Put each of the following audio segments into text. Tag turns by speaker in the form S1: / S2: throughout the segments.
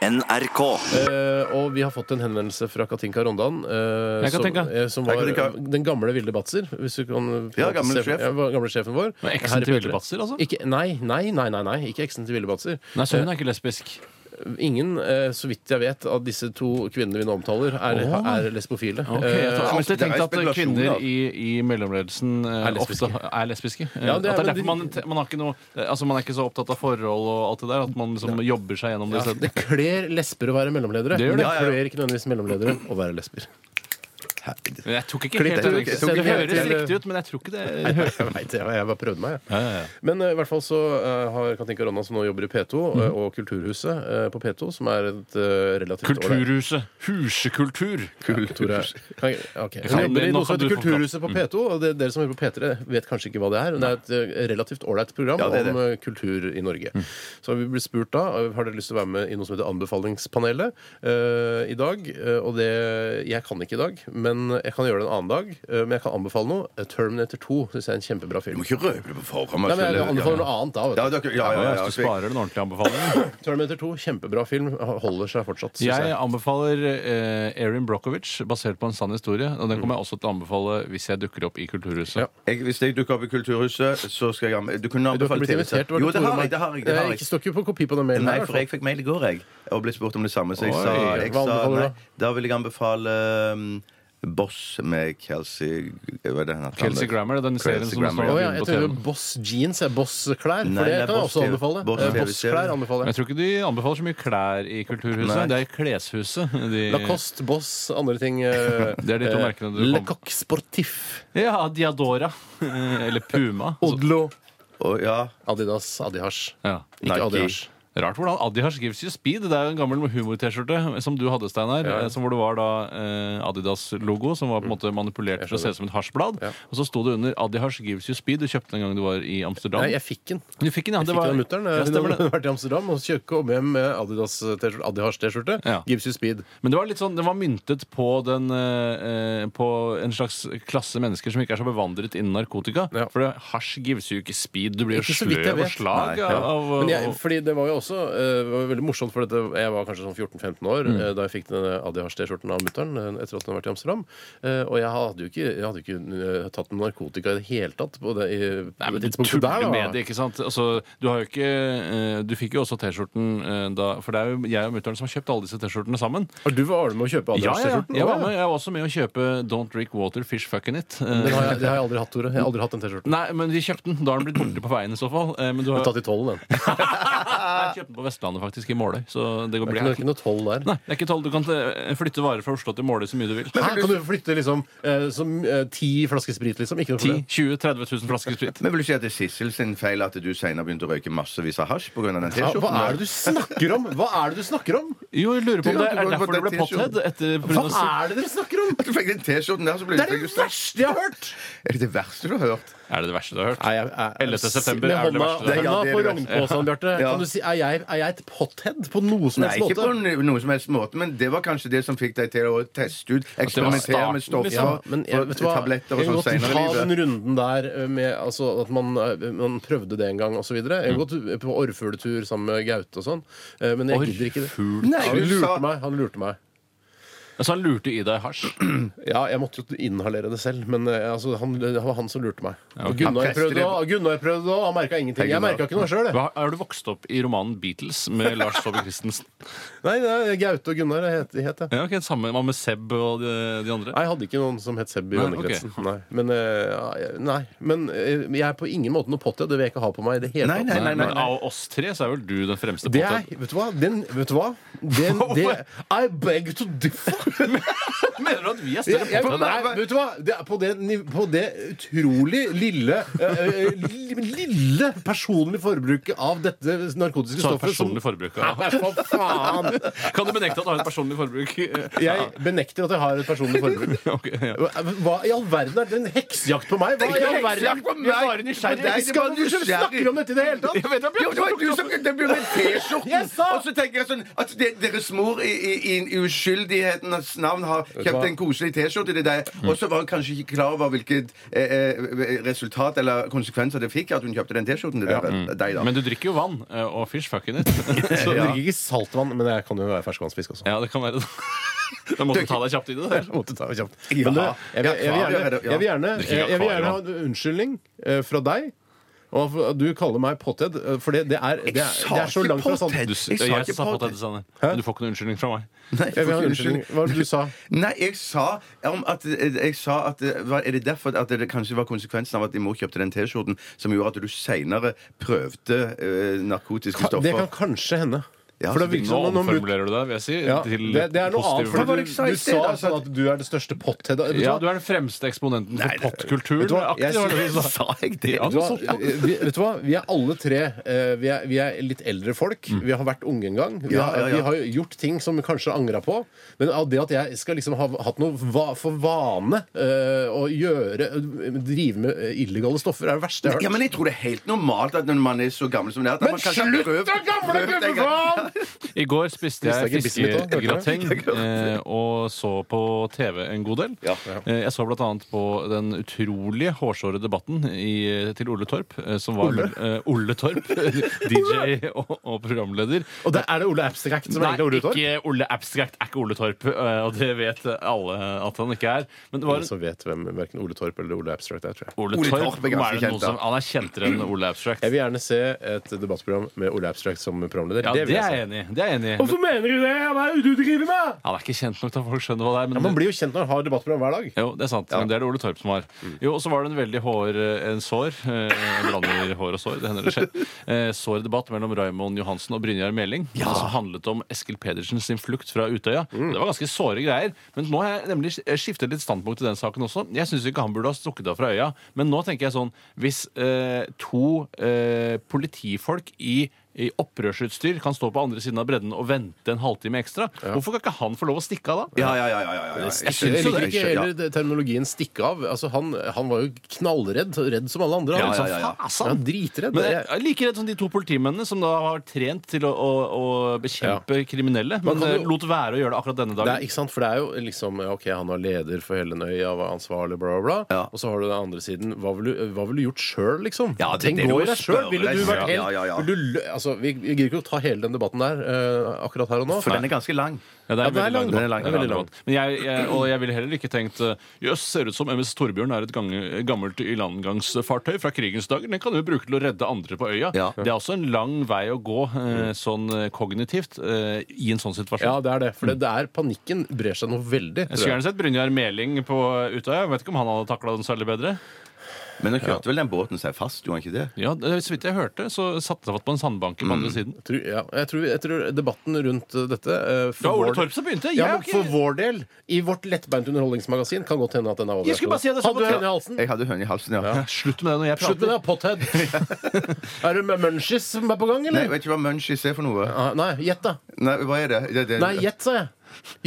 S1: NRK.
S2: Eh, og vi har fått en henvendelse fra Katinka Rondan, eh,
S3: Hei,
S2: som,
S3: Katinka.
S2: eh, som var
S1: Hei, Katinka.
S2: den gamle Vilde Batzer. Hvis du kan
S1: Ja, gamle
S2: sjefen-
S1: sjef.
S2: Ja, var- gamle sjefen vår.
S3: Men eksen
S2: Her i
S3: til
S2: Petre.
S3: Vilde Batzer, altså?
S2: Ikke, nei, nei, nei, nei, nei, ikke eksen til Vilde Batzer.
S3: Nei, så hun er ikke lesbisk.
S2: Ingen, eh, så vidt jeg vet, av disse to kvinnene vi nå omtaler, er,
S3: Åh.
S2: er lesbofile.
S3: Ok, jeg
S2: Eh,
S3: har
S1: men det
S3: alltid
S1: er
S3: tenkt at
S1: spekulasjon, da.
S3: kvinner i, i mellomledelsen eh,
S2: Er lesbiske.
S3: ofte er lesbiske. Eh,
S2: Ja, det er-
S3: at det
S2: men
S3: er derfor man, te- man, har ikke noe, eh, altså man er ikke så opptatt av forhold og alt det der. At man liksom jobber seg gjennom det.
S2: ja,
S3: isteden.
S2: Eh, det kler lesber å være mellomledere.
S3: Det gjør det.
S2: men
S3: Ja,
S1: ja, ja.
S2: kler ikke nødvendigvis mellomledere å være lesber.
S3: Men Jeg tok ikke
S2: Klipp
S3: helt
S2: det.
S3: det.
S2: Jeg tok
S3: Det
S2: ikke helt
S3: høres
S2: til-
S3: riktig ut, men jeg tror ikke det
S2: Jeg vet det, jeg bare prøvde meg. jeg. Men eh, i hvert fall så eh, har Katinka Ronna, som nå jobber i P2, eh,
S1: Mhm.
S2: og Kulturhuset eh, på P2, som er et eh, relativt
S3: Kulturhuset. Husekultur.
S2: Kulturhuset. Okay.
S3: Kan-
S2: Hun jobber i
S3: nå
S2: noe
S3: kan
S2: som heter
S3: du forklare.
S2: Kulturhuset på P2,
S1: Mm.
S2: og det, dere som hører på P3, vet kanskje ikke hva det er. Men det er et eh, relativt ålreit program
S1: Ja, det Mm. er
S2: om eh, kultur i Norge. Så vi ble spurt da eh, har dere lyst til å være med i noe som heter Anbefalingspanelet eh, i dag. Eh, og det Jeg kan ikke i dag, men jeg kan gjøre det en annen dag. Eh, men jeg kan anbefale noe. Eh, Terminator 2 syns jeg er en kjempebra
S1: Du
S2: film.
S1: må ikke røpe det på forhånd.
S2: Nei, men jeg
S1: Aksel.
S2: anbefaler noe annet da.
S1: Ja,
S2: Vet du.
S1: dere- ja, ja, ja,
S3: Hvis du
S1: Aksel.
S3: sparer den ordentlige anbefalingen.
S2: Terminator 2, kjempebra film. Holder seg fortsatt. synes
S3: Jeg
S2: jeg.
S3: anbefaler eh, Erin Brockovich, basert på en sann historie. Og den kommer jeg også til å anbefale hvis jeg dukker opp i Kulturhuset.
S2: Ja.
S1: Jeg, hvis jeg dukker opp i Kulturhuset, så skal jeg anbe- Du kunne
S2: Du har ikke
S1: anbefale
S2: blitt invitert?
S1: TV-serien.
S2: var
S1: Jo, det
S2: Tore
S1: har jeg.
S2: Mark-
S1: det har jeg, det har
S2: Eh,
S1: jeg.
S2: Ikke stå ikke på kopi på den mailen.
S1: Nei,
S2: her, i hvert
S1: for jeg fikk mail i går, jeg, og ble spurt om det samme. Så jeg
S3: Oi.
S1: sa, jeg
S2: Hva
S1: sa
S2: anbefaler du
S1: nei,
S2: da?
S1: da vil jeg anbefale um, Boss med Kelsey Hva er det han heter?
S3: Kelsey Grammer, den serien
S1: Kelsey
S3: som
S1: Grammer,
S3: står-
S1: ja.
S2: Å, ja, jeg
S3: på
S2: tror
S3: TV.
S2: Boss jeans er bossklær. For
S1: Nei,
S2: det
S1: det er
S2: kan jeg også
S1: Boss-TV.
S2: anbefale.
S1: Boss-
S2: Eh, Bossklær
S1: TV-serie.
S2: anbefaler
S3: Men jeg
S2: jeg.
S3: tror ikke de anbefaler så mye klær i Kulturhuset.
S1: Nei.
S3: Det er Kleshuset. De...
S2: Lacoste, Boss, andre ting. eh,
S3: Det er de to
S2: eh,
S3: merkene du
S2: Le
S3: kom-
S2: Coq Sportif.
S3: Ja, Diadora. Eh, Eller Puma.
S2: Odlo.
S1: Og, ja,
S2: Adidas. Adihasj.
S3: Ja.
S2: Ikke
S1: Nike.
S2: Adihasj.
S3: Rart hvordan Adidas gives you speed. Det er jo en gammel humor-T-skjorte som du hadde, Steinar.
S2: Ja.
S3: eh, som Hvor det var da eh, Adidas-logo som var på en måte manipulert til å se ut som et hasjblad.
S2: Mm. Ja.
S3: Og så sto det under Adidas gives you speed. Du kjøpte den en gang du var i Amsterdam.
S2: Nei, jeg fikk den.
S3: Du fikk den, ja.
S2: Jeg
S3: Det
S2: fikk
S3: var,
S2: den av mutter'n. eh,
S3: ja,
S2: Hun
S3: stemmer det.
S2: hadde vært i Amsterdam og kjøpte kom hjem med Adidas-T-skjorte. Adihasj-T-skjorte.
S3: Ja.
S2: Gives you speed.
S3: Men det var litt sånn, den var myntet på, den, eh, eh, på en slags klasse mennesker som ikke er så bevandret innen narkotika.
S2: Ja.
S3: For det- hasj gives jo ikke speed. Du blir jo
S2: Ikke så vidt jeg
S3: sløv og
S2: vet.
S3: slag
S1: Nei,
S3: av, av
S2: Men jeg, fordi det var jo også eh, det var veldig morsomt, for dette, jeg var kanskje sånn 14-15 år
S3: Mm.
S2: eh, da jeg fikk denne ADHD-skjorten av mutter'n eh, etter at hun hadde vært i Amsterdam. Eh, og jeg hadde jo ikke, jeg hadde jo ikke eh, tatt noe narkotika i det hele tatt på det i,
S3: Nei,
S2: på
S3: men du
S2: det tidspunktet
S3: tuller
S2: da.
S3: med det, ikke sant? Altså, du har jo ikke eh, Du fikk jo også T-skjorten eh, da For det er jo jeg og mutter'n som har kjøpt alle disse T-skjortene sammen.
S2: Og du var med å kjøpe
S3: Ja, ja, ja.
S2: ADHD-skjorten?
S3: Jeg, var med, jeg var også med å kjøpe Don't Drink Water, Fish Fucking It. Eh,
S2: Den har jeg, det har jeg aldri hatt, Tore. Jeg har aldri hatt den T-skjorten.
S3: Nei, men vi kjøpte den. Da har den blitt borte på veien i så fall. Eh, Men du har
S2: Tatt i tollen, den.
S3: Jeg kjøpte den på Vestlandet, faktisk, i Måløy. Så det går
S2: Det er
S3: blir
S2: ikke noe- ikke noe toll der.
S3: Nei, det er ikke tolv. Du kan eh, flytte varer fra Oslo til Måløy så mye du vil.
S2: Hæ, kan du flytte liksom eh, som eh, ti flasker sprit, liksom? Ikke noe
S3: 10
S2: problem.
S3: 20 30 000 flasker sprit.
S1: Men vil du si at det er Sissel sin feil at du senere begynte å røyke massevis av hasj pga. den
S2: Ja,
S1: T-skjorten?
S2: hva er det du snakker om?! Hva er det du snakker om?!
S3: Jo, jeg lurer på om
S1: Du
S3: det
S1: har
S3: er
S1: ikke
S3: derfor du
S1: gått på
S3: ble
S1: den
S3: pothead. Etter
S2: Hva
S3: Brunassi.
S2: er det dere snakker om?!
S1: At du fikk den T-skjorten der, så ble
S2: Det
S1: du
S2: er det
S1: fikk-
S2: verste jeg har hørt!
S1: Er det det verste du har hørt?
S3: Er det det verste du har hørt?
S2: Nei, jeg, jeg,
S3: 11. september
S2: med
S3: er vel det
S2: hånda-
S3: verste. Det
S1: er- ja,
S2: Hånda på
S1: det er det verste.
S2: rognposen, Bjarte.
S1: Ja.
S2: Kan du si, er jeg, er jeg et pothead på noe som
S1: Nei,
S2: helst
S1: ikke på
S2: måte?
S1: no- noen som helst måte, men det var kanskje det som fikk deg til å teste ut, eksperimentere
S3: starten,
S1: med stoffer,
S2: Ja, liksom. men jeg, vet du hva? Jeg
S1: tabletter og
S2: kan
S1: sånn
S2: godt
S1: senere i
S2: ta den
S1: livet.
S2: runden der eh, med altså, at man, eh, man prøvde det en gang osv. Jeg
S1: Mm.
S2: har gått på orrfugletur sammen med Gaute og sånn, eh, men jeg gidder ikke det.
S3: Orrfugl?
S1: Nei,
S2: Han
S1: du sa-
S2: lurte meg. Han lurte meg.
S3: Så han lurte i deg hasj.
S2: Ja, jeg måtte jo inhalere det selv, men eh, altså, han, det var han som lurte meg. Og
S3: ok.
S2: Gunnar
S1: Han fester
S2: prøvde òg, Gunnar prøvde òg, han merka ingenting. Jeg
S1: Gunnar.
S2: merka ikke noe sjøl, jeg.
S3: Hva, er du vokst opp i romanen Beatles med Lars Saabye Christensen?
S2: Nei, det er Gaute og Gunnar jeg het, het jeg.
S3: Ja, ok, Samme man med Seb og de, de andre?
S2: Nei, jeg hadde ikke noen som het Seb i
S3: Nei,
S2: vennekretsen. Nei. Men, eh, nei. Men eh, jeg er på ingen måte noe potty, og det vil jeg ikke ha på meg i det hele
S1: Nei,
S2: tatt.
S1: nei, nei, nei,
S3: Men
S1: nei.
S3: av oss tre så er vel du den fremste
S2: Det er,
S3: pothead.
S2: vet du hva? Den, vet du hva? Den, det, I beg to differ.
S3: Mener du at vi er
S2: Jeg,
S3: større
S2: jeg,
S3: pothead?
S2: nei, vet du hva? Det er på, det, niv- på det utrolig lille eh, eh, Lille personlige forbruket av dette narkotiske
S3: Så
S2: stoffet som
S3: sånn personlig forbruk.
S2: Nei,
S3: Ja.
S2: for faen!
S3: Kan du benekte at du har et personlig forbruk?
S2: Jeg benekter at jeg har et personlig forbruk.
S3: Ok, ja.
S2: Hva hva i all verden er det en heksejakt på meg? Hva i all verden?
S1: på meg!
S3: Jeg er bare nysgjerrig.
S1: På deg,
S2: Nei,
S1: det
S2: skal
S1: var
S2: du ikke snakke om dette i det hele tatt?
S3: Jeg vet at
S1: Jo, det var du som det ble med T-skjorten!
S2: Jeg sa-
S1: Og så tenker jeg sånn at det, deres mor i, i, i uskyldigheten hans navn har kjøpt en koselig T-skjorte til deg,
S2: Mm.
S1: og så var hun kanskje ikke klar over hvilket eh, eh, resultat eller konsekvenser det fikk at hun kjøpte den T-skjorten til deg, deg,
S2: Mm.
S1: da.
S3: Men du drikker jo vann eh, og fish fucking it. Så,
S2: Jeg
S1: Ja.
S2: drikker ikke saltvann, men jeg kan jo være ferskvannsfisk også.
S3: ja, det kan være det. Da måtte du ta deg kjapt i det. der
S2: Jeg måtte ta det kjapt.
S1: Ja.
S2: Men du, jeg, vil- jeg, vil
S1: Ja,
S2: gjerne,
S1: akvarium, ja.
S2: jeg, vil gjerne,
S3: Drikker
S2: jeg, jeg vil gjerne ha
S3: akvarium.
S2: en unnskyldning eh, fra deg. Og for- at du kaller meg potthead, eh, for det, det, er, det, er, det er så langt fra sant.
S1: Jeg
S3: Du,
S1: sa
S3: jeg,
S1: ikke
S3: sa på
S1: potthead.
S3: det, Sanne. Men du får ikke noen unnskyldning fra meg.
S1: Nei,
S2: Jeg vil ha
S1: unnskyld.
S2: en unnskyldning. Hva var det du sa?
S1: Nei, jeg sa om at, eh, jeg sa at hva- Er det derfor at det kanskje var konsekvensen av at din mor kjøpte den T-skjorten som gjorde at du seinere prøvde eh, narkotiske
S2: Det kan
S1: stoffer?
S2: kanskje hende.
S1: Ja,
S2: For det
S1: så
S2: virker
S3: Nå
S2: som om noen
S3: omformulerer du deg, vil jeg si.
S2: ja,
S3: til
S2: det, det er noe
S3: positiv-
S2: annet. For
S1: Hva
S2: du,
S1: var det
S2: du
S1: jeg sa i
S2: sa
S1: sted, da?
S2: sånn at du er det største potthead Vet du
S3: Ja,
S2: hva?
S3: du er den fremste eksponenten
S1: Nei,
S3: for
S1: det-
S3: pottkulturen.
S2: Vet du hva?
S3: aktig,
S2: Jeg
S3: var det du sa.
S1: Sa jeg det?
S3: Ja,
S2: Vet du, hva? Vi, vet du hva? Vi er alle tre eh, vi er, vi er litt eldre folk. Vi har vært unge en gang. Vi
S1: Ja,
S2: har,
S1: ja, ja.
S2: Vi har jo gjort ting som vi kanskje angra på. Men av det at jeg skal liksom ha hatt noe va for vane eh, å gjøre Drive med eh, illegale stoffer, er det verste jeg har hørt.
S1: Ja, men jeg tror det er helt normalt at når man er så gammel som det er at
S2: Men
S1: man kanskje har
S2: slutt
S1: prøvd-
S2: da, gamle
S1: prøvd en gang.
S2: gubbefaen!
S3: I går spiste jeg
S2: Spiste jeg ikke bissen litt da?
S3: fiskegrateng eh, og så på TV en god del.
S1: Ja.
S3: Eh, Jeg så blant annet på den utrolige hårsåre debatten i, til Ole Torp. eh, Som var
S2: Ole?
S3: eh, Ole Torp, DJ og, og programleder.
S2: Og det er det Ole Abstract som
S3: Nei,
S2: egentlig har ordet for?
S3: ikke Ole Abstract er ikke Ole Torp, eh, og det vet alle at han ikke er. Men det var
S2: Ingen som vet hvem verken Ole Torp eller Ole Abstract er, tror jeg.
S3: Ole,
S1: Ole
S3: Torp,
S1: Torp er ganske
S3: er det noen
S1: kjent, da.
S3: som, han er kjentere enn Ole Abstract.
S2: Jeg vil gjerne se et debattprogram med Ole Abstract som programleder.
S3: Ja, det
S2: vil
S3: er
S2: jeg se.
S3: jeg enig i. Det er jeg enig i. Men
S2: Hvorfor mener du det? Hva er det du driver med?
S3: Han er ikke kjent nok til at folk skjønner hva det er. Men
S2: Ja, man blir jo kjent når man har debattprogram hver dag.
S3: Jo, det er sant. Men det er det Ole Torp som har.
S1: Mm.
S3: Jo, og så var det en veldig hår, en sår eh, Jeg blander hår og sår, det hender det skjer. Eh, Sår debatt mellom Raymond Johansen og Brynjar Meling. Som handlet om Eskil Pedersen sin flukt fra Utøya.
S1: Mm.
S3: Det var ganske såre greier. Men nå har jeg nemlig eh, skiftet litt standpunkt i den saken også. Jeg syns ikke han burde ha stukket av fra øya. Men nå tenker jeg sånn Hvis eh, to eh, politifolk i i opprørsutstyr kan stå på andre siden av bredden og vente en halvtime ekstra. Hvorfor kan ikke han få lov å stikke av da?
S1: Ja, ja, ja. ja, ja, ja.
S3: Jeg synes
S2: Jeg
S3: jo
S2: liker ikke
S1: Ja.
S2: heller det- terminologien 'stikke av'. Altså, han, han var jo knallredd. Redd som alle andre. Han,
S1: Ja, ja, ja, ja.
S2: liksom, faen, han er dritredd.
S3: Men jeg
S2: jeg,
S3: er like redd som de to politimennene som da har trent til å, å, å bekjempe kriminelle, men
S2: kan
S3: eh,
S2: jo-
S3: lot være å gjøre det akkurat denne
S2: det er,
S3: dagen.
S2: ikke sant, for det er jo liksom OK, han var leder for hele den øya, var ansvarlig, bla, bla, bla.
S1: Ja.
S2: Og så har du den andre siden. Hva ville du, hva ville du gjort sjøl, liksom?
S1: Ja, det er
S2: Tenk
S1: det du
S2: går
S1: må
S2: i deg sjøl.
S1: spørre
S2: Ville du
S1: deg
S2: vært
S1: selv.
S2: helt
S1: Ja, ja, ja.
S2: ville du lø- altså, vi, vi gidder ikke å ta hele den debatten der eh, akkurat her og nå.
S1: For den er ganske lang.
S3: Ja, det
S2: Ja, den er
S3: veldig
S2: lang,
S3: debatt.
S2: den er lang,
S3: Det
S2: den er
S3: debatt.
S2: lang.
S3: Men jeg, jeg, og jeg ville heller ikke tenkt eh, Jøss, ser ut som MS Torbjørn er et gange- gammelt ilandgangsfartøy fra krigens dager. Den kan vi jo bruke til å redde andre på øya.
S1: Ja.
S3: Det er også en lang vei å gå eh, sånn eh, kognitivt eh, i en sånn situasjon.
S2: Mm. Ja, det er det. For det, det er panikken brer seg noe veldig.
S3: Jeg
S2: tror
S3: skulle
S2: jeg.
S3: gjerne sett Brynjar Meling på Utøya. Jeg Vet ikke om han hadde takla den særlig bedre.
S1: Men nå kjørte vel den båten seg fast, gjorde han ikke det?
S3: Ja, det- Så vidt jeg hørte, så satte han seg fast på en sandbanke på andre siden.
S2: Tror- ja, jeg, tror, jeg tror debatten rundt eh, dette eh, for
S3: Det var Ole
S2: vår-
S3: Torp som begynte. Jeg
S2: Ja,
S3: har
S2: men
S3: ikke-
S2: For vår del, i vårt lettbeint underholdningsmagasin, kan godt hende at den er over.
S3: Jeg skulle bare si at det
S2: Hadde
S3: samme-
S2: du høne i halsen?
S1: Jeg hadde høne i halsen, ja.
S3: Slutt med det når jeg prater.
S2: Slutt med det, pothead. er det med munchies som er på gang,
S1: Nei,
S2: eller?
S1: vet ikke hva munchies er for noe.
S2: Ah, Nei, gjett, da.
S1: Nei, hva er det? det, det
S2: Nei, gjett, sa jeg.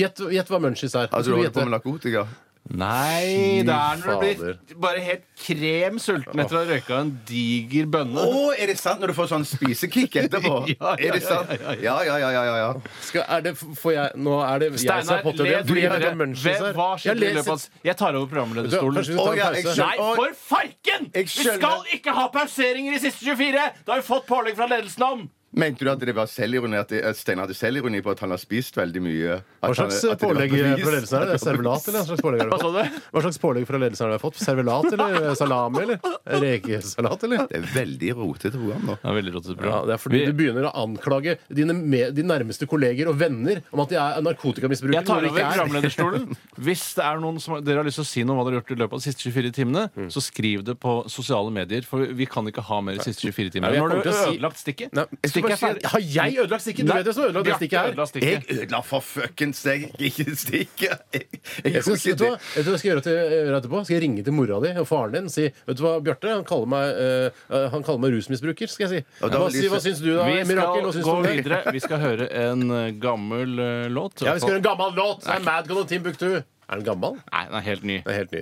S2: Gjett gjett hva munchies er. Skulle
S1: Altså, du holder på
S2: gjette.
S1: med narkotika?
S3: Nei, det er når du
S2: fader.
S3: blir bare helt krem sulten etter å ha røyka en diger
S1: Å,
S3: bønne.
S1: er det sant? Når du får sånn spisekick etterpå?
S3: Ja, ja,
S1: er
S3: ja,
S1: det sant?
S3: ja,
S1: Ja, ja, ja, ja, ja, ja.
S2: Skal, er det, får jeg, nå er det jeg som er pothead igjen. Fordi jeg vet hva munchies
S3: Hvem-
S2: er.
S3: Hva skjedde
S2: Jeg
S3: i løpet
S2: leser-
S3: av s- Jeg tar over
S2: Kanskje vi
S3: programlederstolen.
S2: tar
S1: Å,
S2: en
S1: ja,
S2: pause?
S1: jeg
S2: eh,
S1: skjønner.
S3: Nei, for farken! Vi
S1: Jeg skjønner.
S3: skal ikke ha pauseringer i siste 24! Da har vi fått pålegg fra ledelsen om!
S1: Mente du at det var selvironi At det- at Steinar hadde selvironi på at han har spist veldig mye?
S2: Hva
S1: At
S2: slags
S1: han- at det var
S2: pålegg
S1: bevis?
S2: fra ledelsen er det? Servelat, eller? Hva slags pålegg, har du
S3: Hva sa
S2: fått?
S3: du?
S2: Hva slags pålegg fra ledelsen har du fått? Servelat eller salami, eller? Rekesalat, eller?
S1: Det er veldig rotete program nå.
S3: Det er veldig rotete
S2: Ja,
S3: program.
S2: det er fordi
S3: Vi-
S2: du begynner å anklage dine, med, dine nærmeste kolleger og venner om at de er narkotikamisbrukere.
S3: Jeg
S2: når
S3: tar
S2: de
S3: over
S2: ikke er.
S3: programlederstolen. Hvis det er noen som, dere har lyst til å si noe om hva dere har gjort i løpet av de siste 24 timene, så skriv det på sosiale medier, for vi kan ikke ha mer de siste 24 timer.
S2: Nei, jeg
S3: Nå har
S2: kommer
S3: du
S2: til å si-
S3: ødelagt stikket.
S2: Nei, jeg
S1: skal
S3: Stikket er
S1: bare si-
S3: ferdig.
S2: Har jeg ødelagt stikket? Du
S3: Nei,
S2: vet jo som har ødelagt
S3: Bjarte
S2: stikket her.
S3: ødela
S1: Jeg
S3: stikket.
S1: ødela for fuckings deg ikke stikket! Jeg, jeg,
S2: Jeg
S1: gjorde
S2: synes,
S1: ikke
S2: vet du hva
S1: det.
S2: vet du hva jeg skal gjøre, til, gjøre etterpå? Skal jeg ringe til mora di og faren din og si Vet du hva, Bjarte, han kaller meg, eh, han kaller meg rusmisbruker, skal jeg si.
S1: Ja, da
S2: Hva,
S1: vil de
S2: si, hva
S1: se-
S2: syns du da,
S3: Vi
S2: Mirakel?
S3: skal
S2: Hva syns du
S3: gå
S2: om det?
S3: videre. Vi skal høre en eh, gammel eh, låt.
S2: Ja, vi skal gjøre en gammel låt! Det er Madcon og Timbuktu. Er den gammel?
S3: Nei, den er helt ny.
S2: Den er helt ny.